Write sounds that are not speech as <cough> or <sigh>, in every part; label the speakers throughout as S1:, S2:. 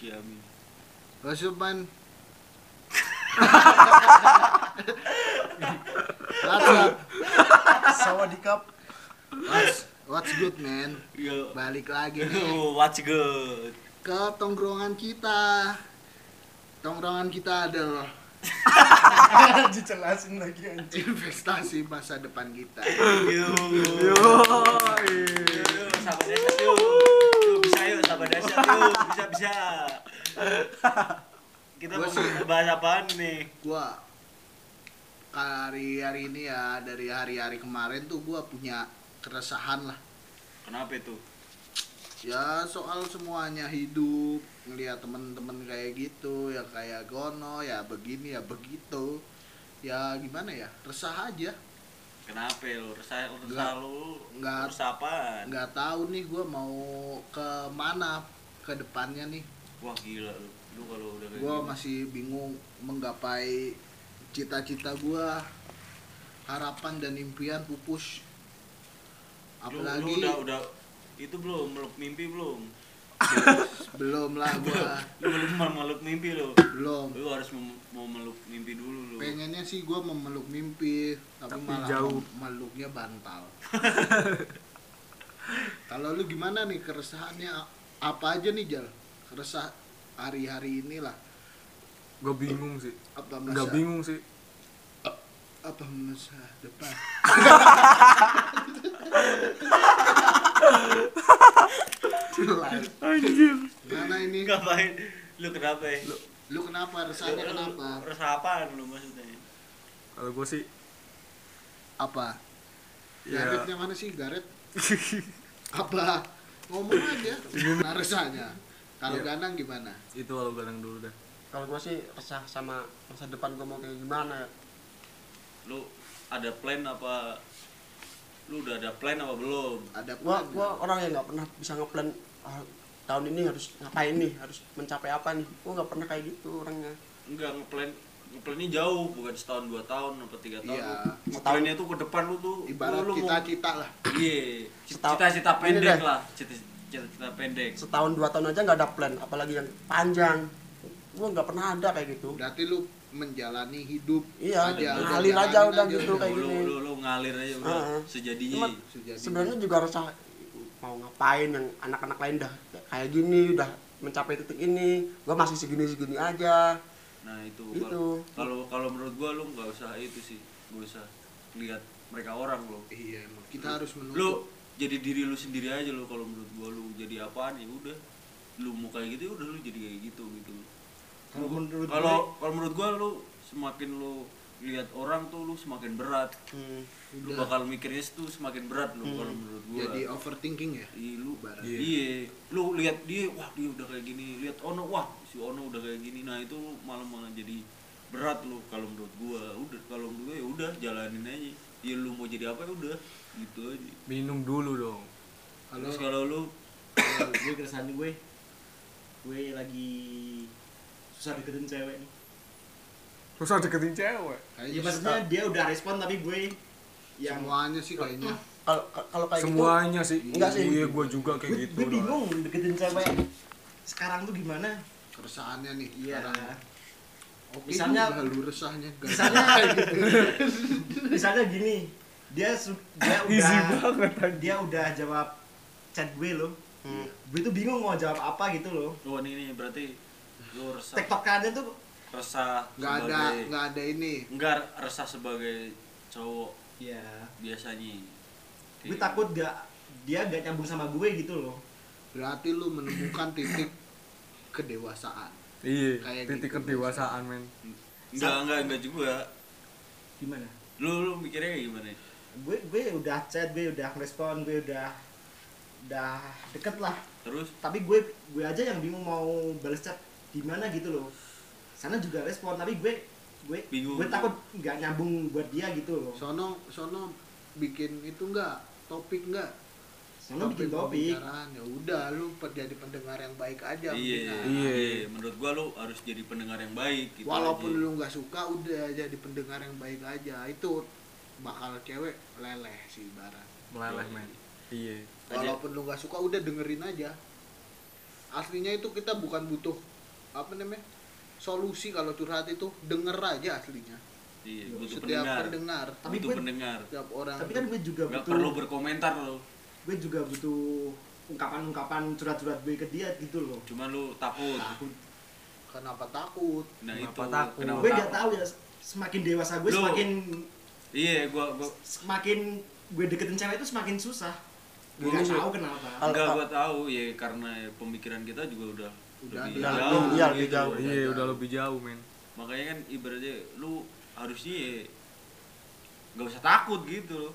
S1: Iya,
S2: Was ist mein. what's up?
S3: Sawadikap.
S2: What's, what's good man?
S1: <laughs> Yo.
S2: Balik lagi nih
S1: What's Iya. Oh, good?
S2: ke tongkrongan kita. Tongkrongan kita adalah
S3: <laughs> Dijelasin lagi anjing.
S2: investasi masa depan kita.
S1: Yo. Yo. Sabar desa yo. Yo bisa yo sabar desa yo. Bisa bisa. Kita mau
S2: Gua sih-
S1: bahas apaan nih?
S2: Gua hari hari ini ya dari hari-hari kemarin tuh gua punya keresahan lah
S1: Kenapa itu?
S2: ya soal semuanya hidup ngeliat temen-temen kayak gitu ya kayak gono ya begini ya begitu ya gimana ya resah aja
S1: Kenapa lu? Resah
S2: Nggak.
S1: resah lu?
S2: Nggak.
S1: Resah apaan?
S2: nggak tahu nih gue mau ke mana ke depannya nih
S1: Wah gila lu. Lu kalau udah kayak
S2: gue
S1: gini.
S2: masih bingung menggapai cita-cita gue harapan dan impian pupus
S1: Lu- lu
S2: apalagi
S1: udah udah itu belum meluk mimpi belum?
S2: <laughs> belum lah gue
S1: Lu belum <laughs> mau meluk mimpi lu.
S2: belum
S1: Lu harus mem- mau meluk mimpi dulu lu.
S2: pengennya sih gue memeluk mimpi tapi,
S3: Tapi
S2: malah
S3: jauh.
S2: mem- meluknya bantal kalau lu gimana nih keresahannya apa aja nih jal keresah hari-hari inilah
S4: gue bingung sih
S2: apa
S4: nggak
S2: masa
S4: bingung sih
S2: apa masa
S4: <laughs>
S2: depan Jelek.
S4: anjir
S2: Gimana ini?
S1: Ngapain? Lu kenapa ya? Lu,
S2: Lu kenapa? Resahnya kenapa?
S1: Resah apaan lu maksudnya?
S4: kalau gue sih
S2: Apa?
S4: ya
S2: Garetnya mana sih? Garet? <laughs> Apa? Ngomong aja. Nah, resahnya. Kalau
S4: Iya.
S2: Ganang gimana?
S4: itu kalau gadang dulu dah
S3: Kalau gua sih resah sama masa depan gua mau kayak gimana ya.
S1: Lu ada plan apa? Lu udah ada plan apa belum?
S2: Ada
S3: Gua
S2: plan nggak?
S3: gua orang yang nggak pernah bisa ngeplan ah, tahun ini harus ngapain nih, harus mencapai apa nih. Gua nggak pernah kayak gitu orangnya.
S1: Enggak ngeplan ngeplannya jauh bukan setahun dua tahun apa tiga tahun
S2: Iya.
S1: Lu ngeplannya tuh ke depan lu tuh
S2: Ibarat
S1: lu, lu mau-
S2: cita-cita lah.
S1: iya
S3: Setahun-
S1: cita-cita
S3: Ini
S1: pendek
S3: deh.
S1: lah cita-cita pendek
S3: Setahun dua tahun aja nggak ada plan, apalagi yang panjang. Gua nggak pernah ada kayak gitu.
S2: Berarti lu menjalani hidup
S3: Iya,
S2: aja. udah
S3: ngalir aja
S2: jalanin
S3: udah gitu
S1: lu,
S3: kayak
S1: lu,
S3: gini.
S1: lu, lu ngalir aja udah
S3: Heeh.
S1: sejadinya
S3: Cuma-
S2: Sejadinya.
S3: sebenarnya juga rasa mau ngapain yang anak-anak lain dah kayak gini udah mencapai titik ini gua masih segini-segini aja
S1: nah itu
S3: Gitu.
S1: kalau- kalau kalau menurut gua lu nggak usah itu sih nggak usah lihat mereka orang lu
S2: Iya, emang. Kita harus menutup.
S1: lu jadi diri lu sendiri aja lu kalau menurut gua lu jadi apaan ya udah lu mau kayak gitu ya udah lu jadi kayak gitu gitu
S3: Kalau menurut
S1: kalau kalau menurut gua lu semakin lu lihat orang tuh lu semakin berat
S3: hmm,
S1: lu bakal mikirnya tuh semakin berat lu kalau menurut gua
S2: Jadi overthinking ya?
S1: Iya, lu
S2: Ibarat.
S1: iya lu lihat dia wah dia udah kayak gini lihat ono wah si ono udah kayak gini nah itu lu malah malah jadi berat lu kalau menurut gua udah kalau menurut gua ya udah jalanin aja ya lu mau jadi apa ya udah gitu aja
S4: minum dulu dong
S2: Kalau
S1: terus kalau lu
S5: Kalau gue keresahan gue gue lagi susah deketin cewek nih
S4: susah deketin cewek
S5: ya
S2: kayaknya
S5: maksudnya dia udah respon tapi gue
S2: suka-
S5: yang
S2: semuanya sih kayaknya.
S3: kalau kalau kayak gitu
S4: semuanya sih
S3: Enggak sih.
S4: iya gue juga kayak
S5: gue,
S4: gitu
S5: gue
S4: dah.
S5: bingung deketin cewek sekarang tuh gimana
S2: Keresahannya nih.
S5: iya
S2: sekarang. Oke,
S5: Misalnya-
S2: juga lu ah, resahnya. Gak
S4: <laughs>
S5: misalnya misalnya gini dia su- dia
S4: <laughs> Easy
S5: udah
S4: banget anjir.
S5: dia udah jawab chat gue loh
S3: Hmm.
S5: gue tuh bingung mau jawab apa gitu loh
S1: lu ini, ini berarti lu resah
S5: tektokannya tuh
S1: resah
S2: nggak ada
S1: sebagai-
S2: nggak ada ini
S1: enggak resah sebagai cowok
S4: Iya.
S5: ya
S1: biasanya Iya.
S5: gue
S1: Kayak-
S5: takut gak dia gak nyambung sama gue gitu loh
S2: berarti lu menemukan titik kedewasaan
S4: iya
S2: Kayak
S4: titik
S2: gitu.
S4: kedewasaan men
S1: enggak enggak enggak juga
S5: gimana
S1: lu lu mikirnya kayak gimana
S5: gue gue udah chat gue udah respon gue udah udah deket lah
S1: terus
S5: tapi gue gue aja yang bingung mau balas chat gimana gitu loh sana juga respon tapi gue gue
S1: Bingung.
S5: gue takut nggak nyambung buat dia gitu loh
S2: sono sono bikin itu enggak topik enggak
S5: sana bikin topik
S2: ya udah lu per- jadi pendengar yang baik aja Nah,
S1: iya
S2: mendingan.
S4: Iya.
S1: iya menurut gua lu harus jadi pendengar yang baik gitu
S2: walaupun
S1: aja.
S2: lu nggak suka udah jadi pendengar yang baik aja itu bakal cewek leleh sih ibarat
S4: meleleh men iya
S1: Aja.
S2: walaupun lu nggak suka udah dengerin aja aslinya itu kita bukan butuh apa namanya solusi kalau curhat itu denger aja aslinya
S1: Iya, butuh
S2: setiap
S1: pendengar.
S2: pendengar
S5: Tapi
S1: butuh
S5: gue-
S1: pendengar.
S2: setiap orang
S5: tapi kan gue juga
S1: Gak
S5: butuh
S1: perlu berkomentar lo.
S5: gue juga butuh ungkapan-ungkapan curhat-curhat gue ke dia gitu loh
S1: Cuman lu takut.
S5: Takut.
S2: kenapa takut
S1: Nah
S4: Kenapa
S1: itu
S4: takut?
S1: kenapa
S5: gue gak
S1: takut?
S5: tahu ya semakin dewasa gue
S1: Lu-
S5: semakin
S1: Iya, gua gua
S5: semakin gue deketin cewek itu semakin susah gue
S3: Gini
S5: gak
S3: sih.
S5: tahu kenapa
S3: Al-
S1: enggak
S3: al-
S1: gua tahu ya karena ya, pemikiran kita juga udah
S2: Udah
S1: lebih
S2: ada.
S1: jauh.
S3: Iya,
S1: gitu.
S3: lebih jauh.
S4: Iya, udah lebih jauh, men.
S1: Makanya kan ibaratnya lu harusnya ya nggak usah takut gitu loh.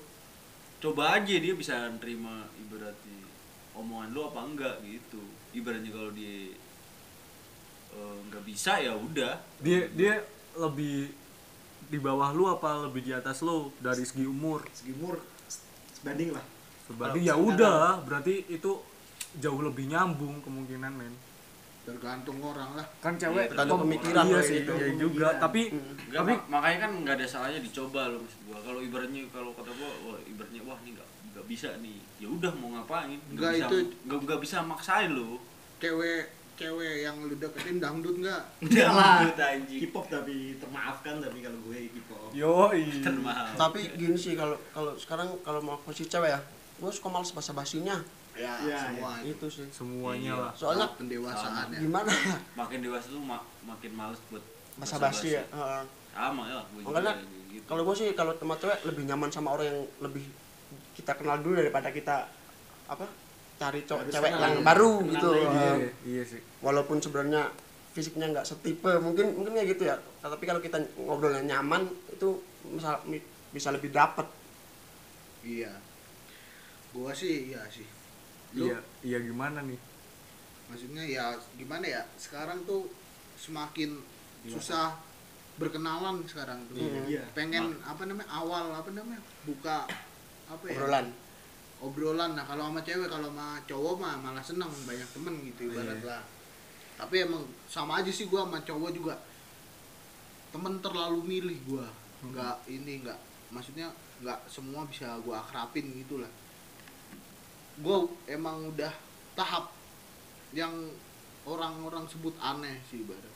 S1: Coba aja dia bisa nerima ibaratnya omongan lu apa enggak gitu. Ibaratnya kalau dia eh, nggak bisa ya udah
S4: Dia dia lebih di bawah lu apa lebih di atas lu dari segi umur?
S5: segi umur se- sebanding lah
S4: Berarti ya udah, berarti itu jauh lebih nyambung kemungkinan, men.
S2: tergantung orang lah
S4: Kan cewek
S3: tergantung
S4: pem-
S3: pemikiran gitu. Hmm.
S4: iya
S3: lo
S4: sih,
S3: itu.
S4: iya juga,
S5: Pemikiran.
S4: tapi
S1: Enggak,
S4: tapi
S1: mak- makanya kan nggak ada salahnya dicoba loh maksud gua. Kalau ibaratnya kalau kata gua, wah ibaratnya wah ini nggak nggak bisa nih. Ya udah mau ngapain?
S2: Nggak,
S1: bisa
S2: itu-
S1: nggak nggak bisa maksain lo.
S2: cewek cewek yang lu deketin dangdut nggak
S5: Enggak lah.
S1: Lanjut, anjing.
S2: Gitu.
S5: hip hop tapi termaafkan tapi kalau gue hip hop
S4: yoi.
S1: Termahal.
S3: tapi gini sih kalau kalau sekarang kalau mau posisi cewek ya gue suka males bahasa basinya
S2: ya,
S5: Ya,
S2: semua itu
S3: itu sih
S4: semuanya
S1: Iya.
S4: lah.
S3: soalnya
S2: pendewasaannya
S3: gimana ya
S1: makin dewasa tuh ma- makin males buat
S3: bahasa basi ya Heeh.
S1: Sama ya, gua juga
S3: Makanya
S1: kayak gitu. <laughs>
S3: kalau gue sih kalau teman cewek lebih nyaman sama orang yang lebih kita kenal dulu daripada kita apa cari cowok
S5: Harus
S3: cewek
S5: kenal. ya.
S3: yang baru
S5: Kenal
S3: gitu
S5: dulu.
S3: Heeh.
S4: Iya, iya sih.
S3: walaupun sebenarnya fisiknya nggak setipe mungkin mungkin kayak gitu ya tapi kalau kita ngobrolnya nyaman itu bisa bisa lebih dapat
S2: iya gua sih iya sih lu
S4: Iya, iya gimana nih?
S2: maksudnya ya gimana ya sekarang tuh semakin susah berkenalan sekarang tuh
S5: Iya.
S2: pengen apa namanya awal apa namanya buka apa ya
S3: obrolan
S2: obrolan nah kalau sama cewek kalau sama cowok mah malah seneng banyak temen gitu ibarat
S4: Iya.
S2: lah tapi emang sama aja sih gua sama cowok juga temen terlalu milih gua nggak
S4: Hmm.
S2: ini nggak maksudnya nggak semua bisa gua akrapin gitu lah gua emang udah tahap yang orang-orang sebut aneh sih ibarat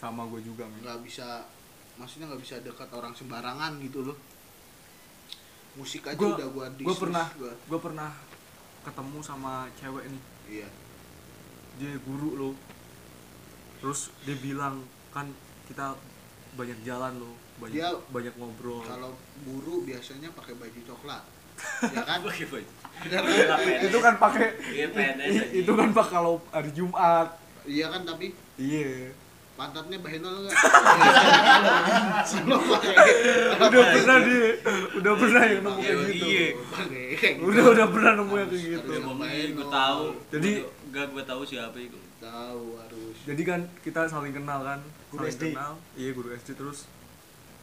S4: Sama gue juga, men.
S2: nggak bisa maksudnya nggak bisa dekat orang sembarangan gitu loh musik aja
S4: Gua-
S2: Nah, udah gua
S4: Gue
S2: dismiss
S4: pernah
S2: gua.
S4: gue pernah ketemu sama cewek nih.
S2: iya
S4: dia guru lo terus dia bilang kan kita banyak jalan lo banyak
S2: Dia-
S4: banyak ngobrol
S2: kalau guru biasanya pakai baju coklat ya kan
S1: Pakai baju.
S2: Iya kan?
S1: Iya, PNS.
S4: itu kan pakai
S1: Iya, PNS
S4: i-
S1: anjing.
S4: itu kan pak kalau hari Jumat
S2: iya kan tapi
S4: iya
S2: pantatnya bahenol
S4: <laughs>
S2: enggak lo pakai
S4: udah pernah dia udah pernah ya nemu
S1: Iya,
S4: kayak gitu
S1: iya.
S2: pakai
S4: udah udah pernah nemu yang kayak gitu
S1: Gua
S2: Iya,
S1: bohongin,
S2: main
S1: gua
S2: dong.
S1: tahu.
S4: Jadi-
S1: Gua- enggak gua tahu siapa itu.
S2: tahu harus
S4: jadi kan kita saling kenal kan
S5: Guru
S4: saling
S5: SD.
S4: kenal iya guru SD terus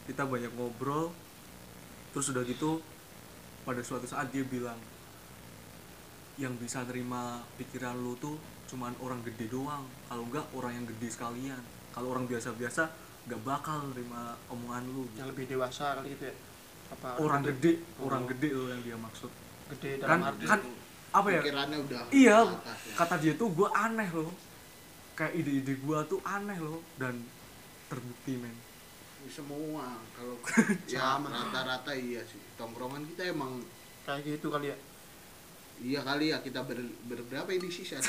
S4: kita banyak ngobrol terus udah gitu pada suatu saat dia bilang yang bisa terima pikiran lu tuh cuman orang gede doang kalau enggak orang yang gede sekalian kalau orang biasa-biasa nggak bakal terima omongan lu
S3: yang lebih dewasa kali gitu ya apa
S4: orang gede orang gede lo yang dia maksud
S3: gede
S4: kan
S3: dalam arti
S4: kan apa ya
S2: pikirannya udah
S4: Iya,
S2: ke atas ya.
S4: kata dia tuh gue aneh loh. Kayak ide-ide gue tuh aneh loh dan terbukti men.
S2: semua
S4: <laughs>
S2: kalau ya rata-rata iya sih tongkrongan kita emang
S3: kayak gitu kali ya
S2: iya kali ya kita ber, berberapa ini
S4: <laughs>
S2: sisa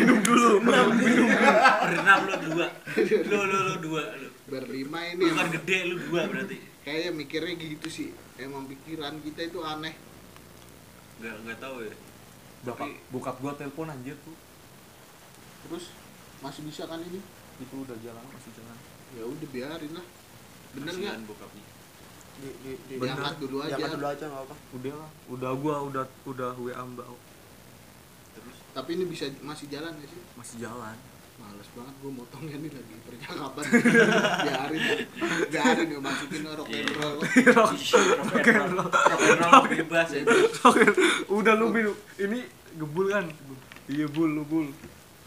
S4: Minum dulu, minum.
S1: Berenam lu dua. Lu lu lu dua lu.
S2: berlima ini
S1: Bukan
S2: emang
S1: gede lu dua berarti.
S2: kayaknya mikirnya gitu sih emang pikiran kita itu aneh
S1: Enggak enggak tahu ya.
S4: Bapak, bokap gue telepon anjir tuh.
S2: terus masih bisa kan ini
S4: Itu udah jalan masih jalan.
S2: ya udah biarin lah bener nggak
S1: Kasihan bokapnya.
S3: di di di
S4: Bener.
S2: diangkat dulu aja
S3: diangkat Iya, dulu aja nggak apa
S4: Udah lah, udah gue udah udah WA Mbak
S1: Terus
S2: tapi ini bisa masih jalan ya sih
S4: masih jalan.
S2: males banget gue motongnya nih lagi percakapan biarin biarin ya masukin rock and roll
S1: iya. rock and roll. Rock and roll bebas ya.
S4: udah lu minum. Ini gebul kan? Iya bul, lu bul.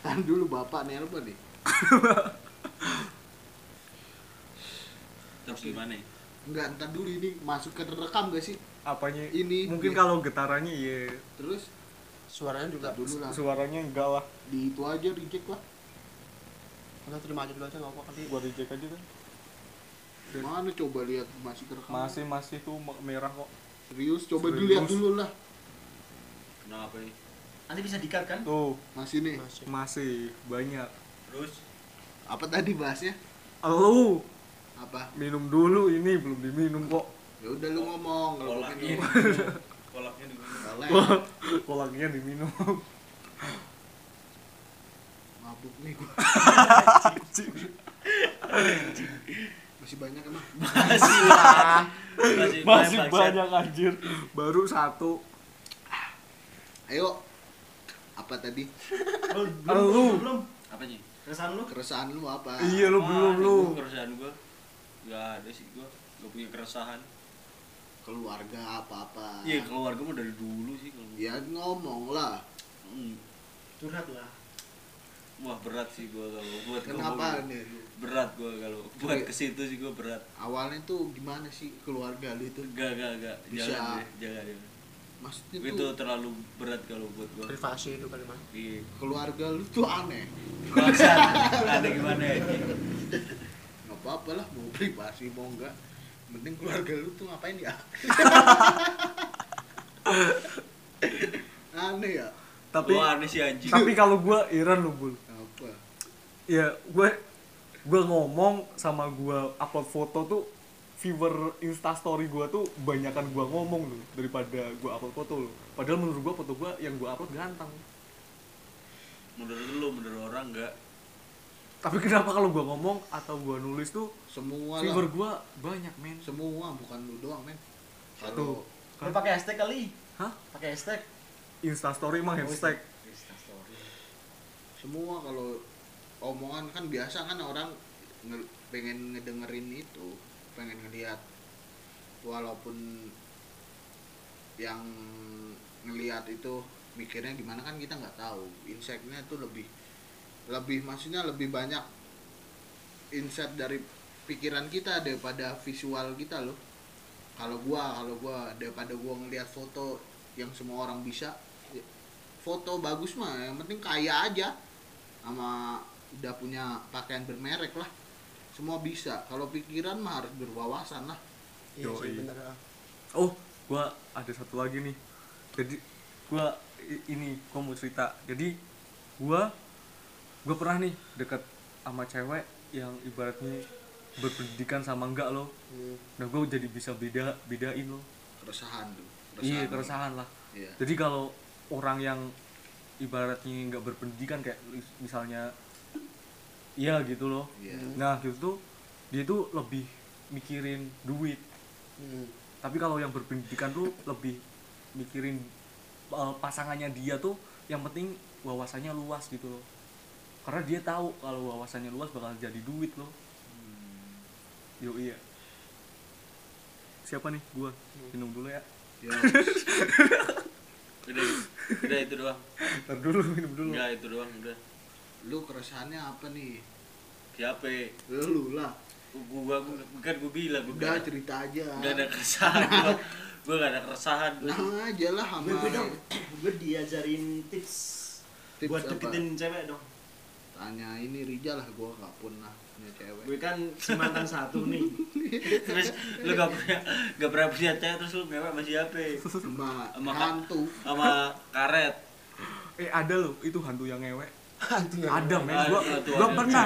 S2: kan dulu bapak nelpon nih
S1: Terus gimana? ya?
S2: nggak entar dulu ini masuk ke rekam gak sih
S4: Apanya?
S2: Ini, iya.
S4: Mungkin kalau getarannya ya
S2: terus
S3: suaranya juga
S2: entar dulu lah
S4: suaranya enggak lah.
S2: di itu aja reject lah
S3: udah terima aja dulu aja nggak apa-apa kali
S6: gua reject aja kan
S2: Mana coba lihat masih kerekam.
S6: masih masih tuh me- merah kok
S2: Serius, coba dilihat dulu lah.
S1: Kenapa ya?
S5: Nanti bisa dikat kan?
S6: tuh
S2: Masih nih.
S3: masih
S4: masih banyak
S1: Terus
S2: Apa tadi bahasnya?
S4: lu
S2: Apa?
S4: minum dulu ini belum diminum kok
S2: Ya udah lu ngomong kalau
S1: kolaknya
S2: mungkin lu.
S1: diminum. kolaknya diminum.
S2: Kolak.
S4: kolaknya diminum <laughs>
S2: Mabuk nih
S1: <laughs>
S2: gua. Masih banyak emang.
S1: Masih
S3: lah
S1: masih
S6: masih
S1: banyak, Bang.
S6: banyak anjir
S4: baru satu
S2: Ayo. Apa tadi?
S5: Belum,
S4: Lu.
S5: belum, belum, belum.
S1: Apa sih?
S5: Keresahan lu?
S2: Keresahan lu apa?
S4: iya lu
S1: Wah,
S4: belum
S1: ini
S4: lu
S1: gua Keresahan gua. Gak ada sih gua. Gak punya keresahan.
S2: Keluarga apa-apa.
S1: Iya keluarga mah dari dulu sih kalau.
S2: Ya ngomong lah.
S1: Hmm.
S5: Curhat lah.
S1: Wah berat sih gua kalau buat
S2: Kenapa
S1: ngomong.
S2: nih lu?
S1: Berat gua kalau buat ke situ sih gua berat.
S2: Awalnya tuh gimana sih keluarga lu itu?
S1: Gak gak gak.
S2: Bisa.
S1: Jangan deh, jangan deh.
S2: Maksudnya
S1: Itu,
S2: tuh
S1: terlalu berat kalau buat gua.
S3: privasi itu kali mas
S1: Iya.
S2: keluarga lu tuh aneh.
S1: Bangsat. Ada gimana ya? Ji?
S2: nggak apa-apa lah mau privasi mau enggak penting keluarga lu tuh ngapain
S1: <laughs>
S2: ya aneh ya
S4: tapi
S1: Wah, aneh sih anjing.
S4: tapi kalau gua heran lu bul
S2: apa
S4: ya gue gue ngomong sama gue upload foto tuh viewer instastory gue tuh banyakan gue ngomong loh daripada gue upload foto loh padahal menurut gue foto gue yang gue upload ganteng
S1: menurut lu menurut orang enggak
S4: tapi kenapa kalau gue ngomong atau gue nulis tuh
S2: semua lah
S4: viewer gue banyak men
S2: semua bukan lu doang men
S4: Tuh.
S2: kalau
S5: Lu pakai hashtag kali.
S4: hah
S5: Pakai hashtag.
S4: instastory mah hashtag
S5: Instastory.
S2: semua kalau omongan kan biasa kan orang nge- pengen ngedengerin itu pengen ngelihat walaupun yang ngelihat itu mikirnya gimana kan kita nggak tahu insightnya itu lebih lebih maksudnya lebih banyak insight dari pikiran kita daripada visual kita loh kalau gua kalau gua daripada gua ngelihat foto yang semua orang bisa ya, foto bagus mah yang penting kaya aja sama udah punya pakaian bermerek lah semua bisa kalau pikiran mah harus berwawasan lah
S3: iya sih
S4: Yoi.
S3: bener ah.
S4: oh gue ada satu lagi nih jadi gue ini gue mau cerita jadi gue gue pernah nih deket sama cewek yang ibaratnya berpendidikan sama enggak loh
S3: Hmm.
S4: nah gue jadi bisa beda bedain loh
S2: keresahan tuh
S4: iya keresahan lah
S2: Iya.
S4: jadi kalau orang yang ibaratnya nggak berpendidikan kayak mis- misalnya iya gitu loh
S2: Iya.
S4: nah gitu tuh dia tuh lebih mikirin duit
S3: Hmm. <laughs>
S4: tapi kalau yang berpendidikan tuh lebih mikirin uh, pasangannya dia tuh yang penting wawasannya luas gitu loh karena dia tahu kalau wawasannya luas bakal jadi duit loh Hmm. yo iya siapa nih gua minum dulu ya
S2: Ya,
S1: udah udah itu doang
S4: ntar dulu minum dulu
S1: enggak itu doang udah
S2: lu keresahannya apa nih
S1: siapa ya?
S2: lu lah
S1: gua gua bukan gua bilang gua
S2: udah
S1: nggak-
S2: cerita aja
S1: nggak ada keresahan gua gua nggak ada keresahan
S2: nah aja lah sama
S5: Gue dong. <coughs> Gue diajarin tips.
S2: Tips
S5: buat
S2: apa?
S5: deketin cewek dong.
S2: tanya ini Rijal lah gua nggak pernah punya cewek
S5: Gue kan si mantan satu nih.
S1: terus lu gak punya gak pernah punya cewek terus lu mewek sama siapa
S2: sama
S1: Sama Kak.
S2: hantu
S1: sama karet
S4: eh ada loh itu hantu yang ngewek
S3: hantu yang
S4: ada men gua
S1: Ada tuh,
S4: gua
S1: ada.
S4: pernah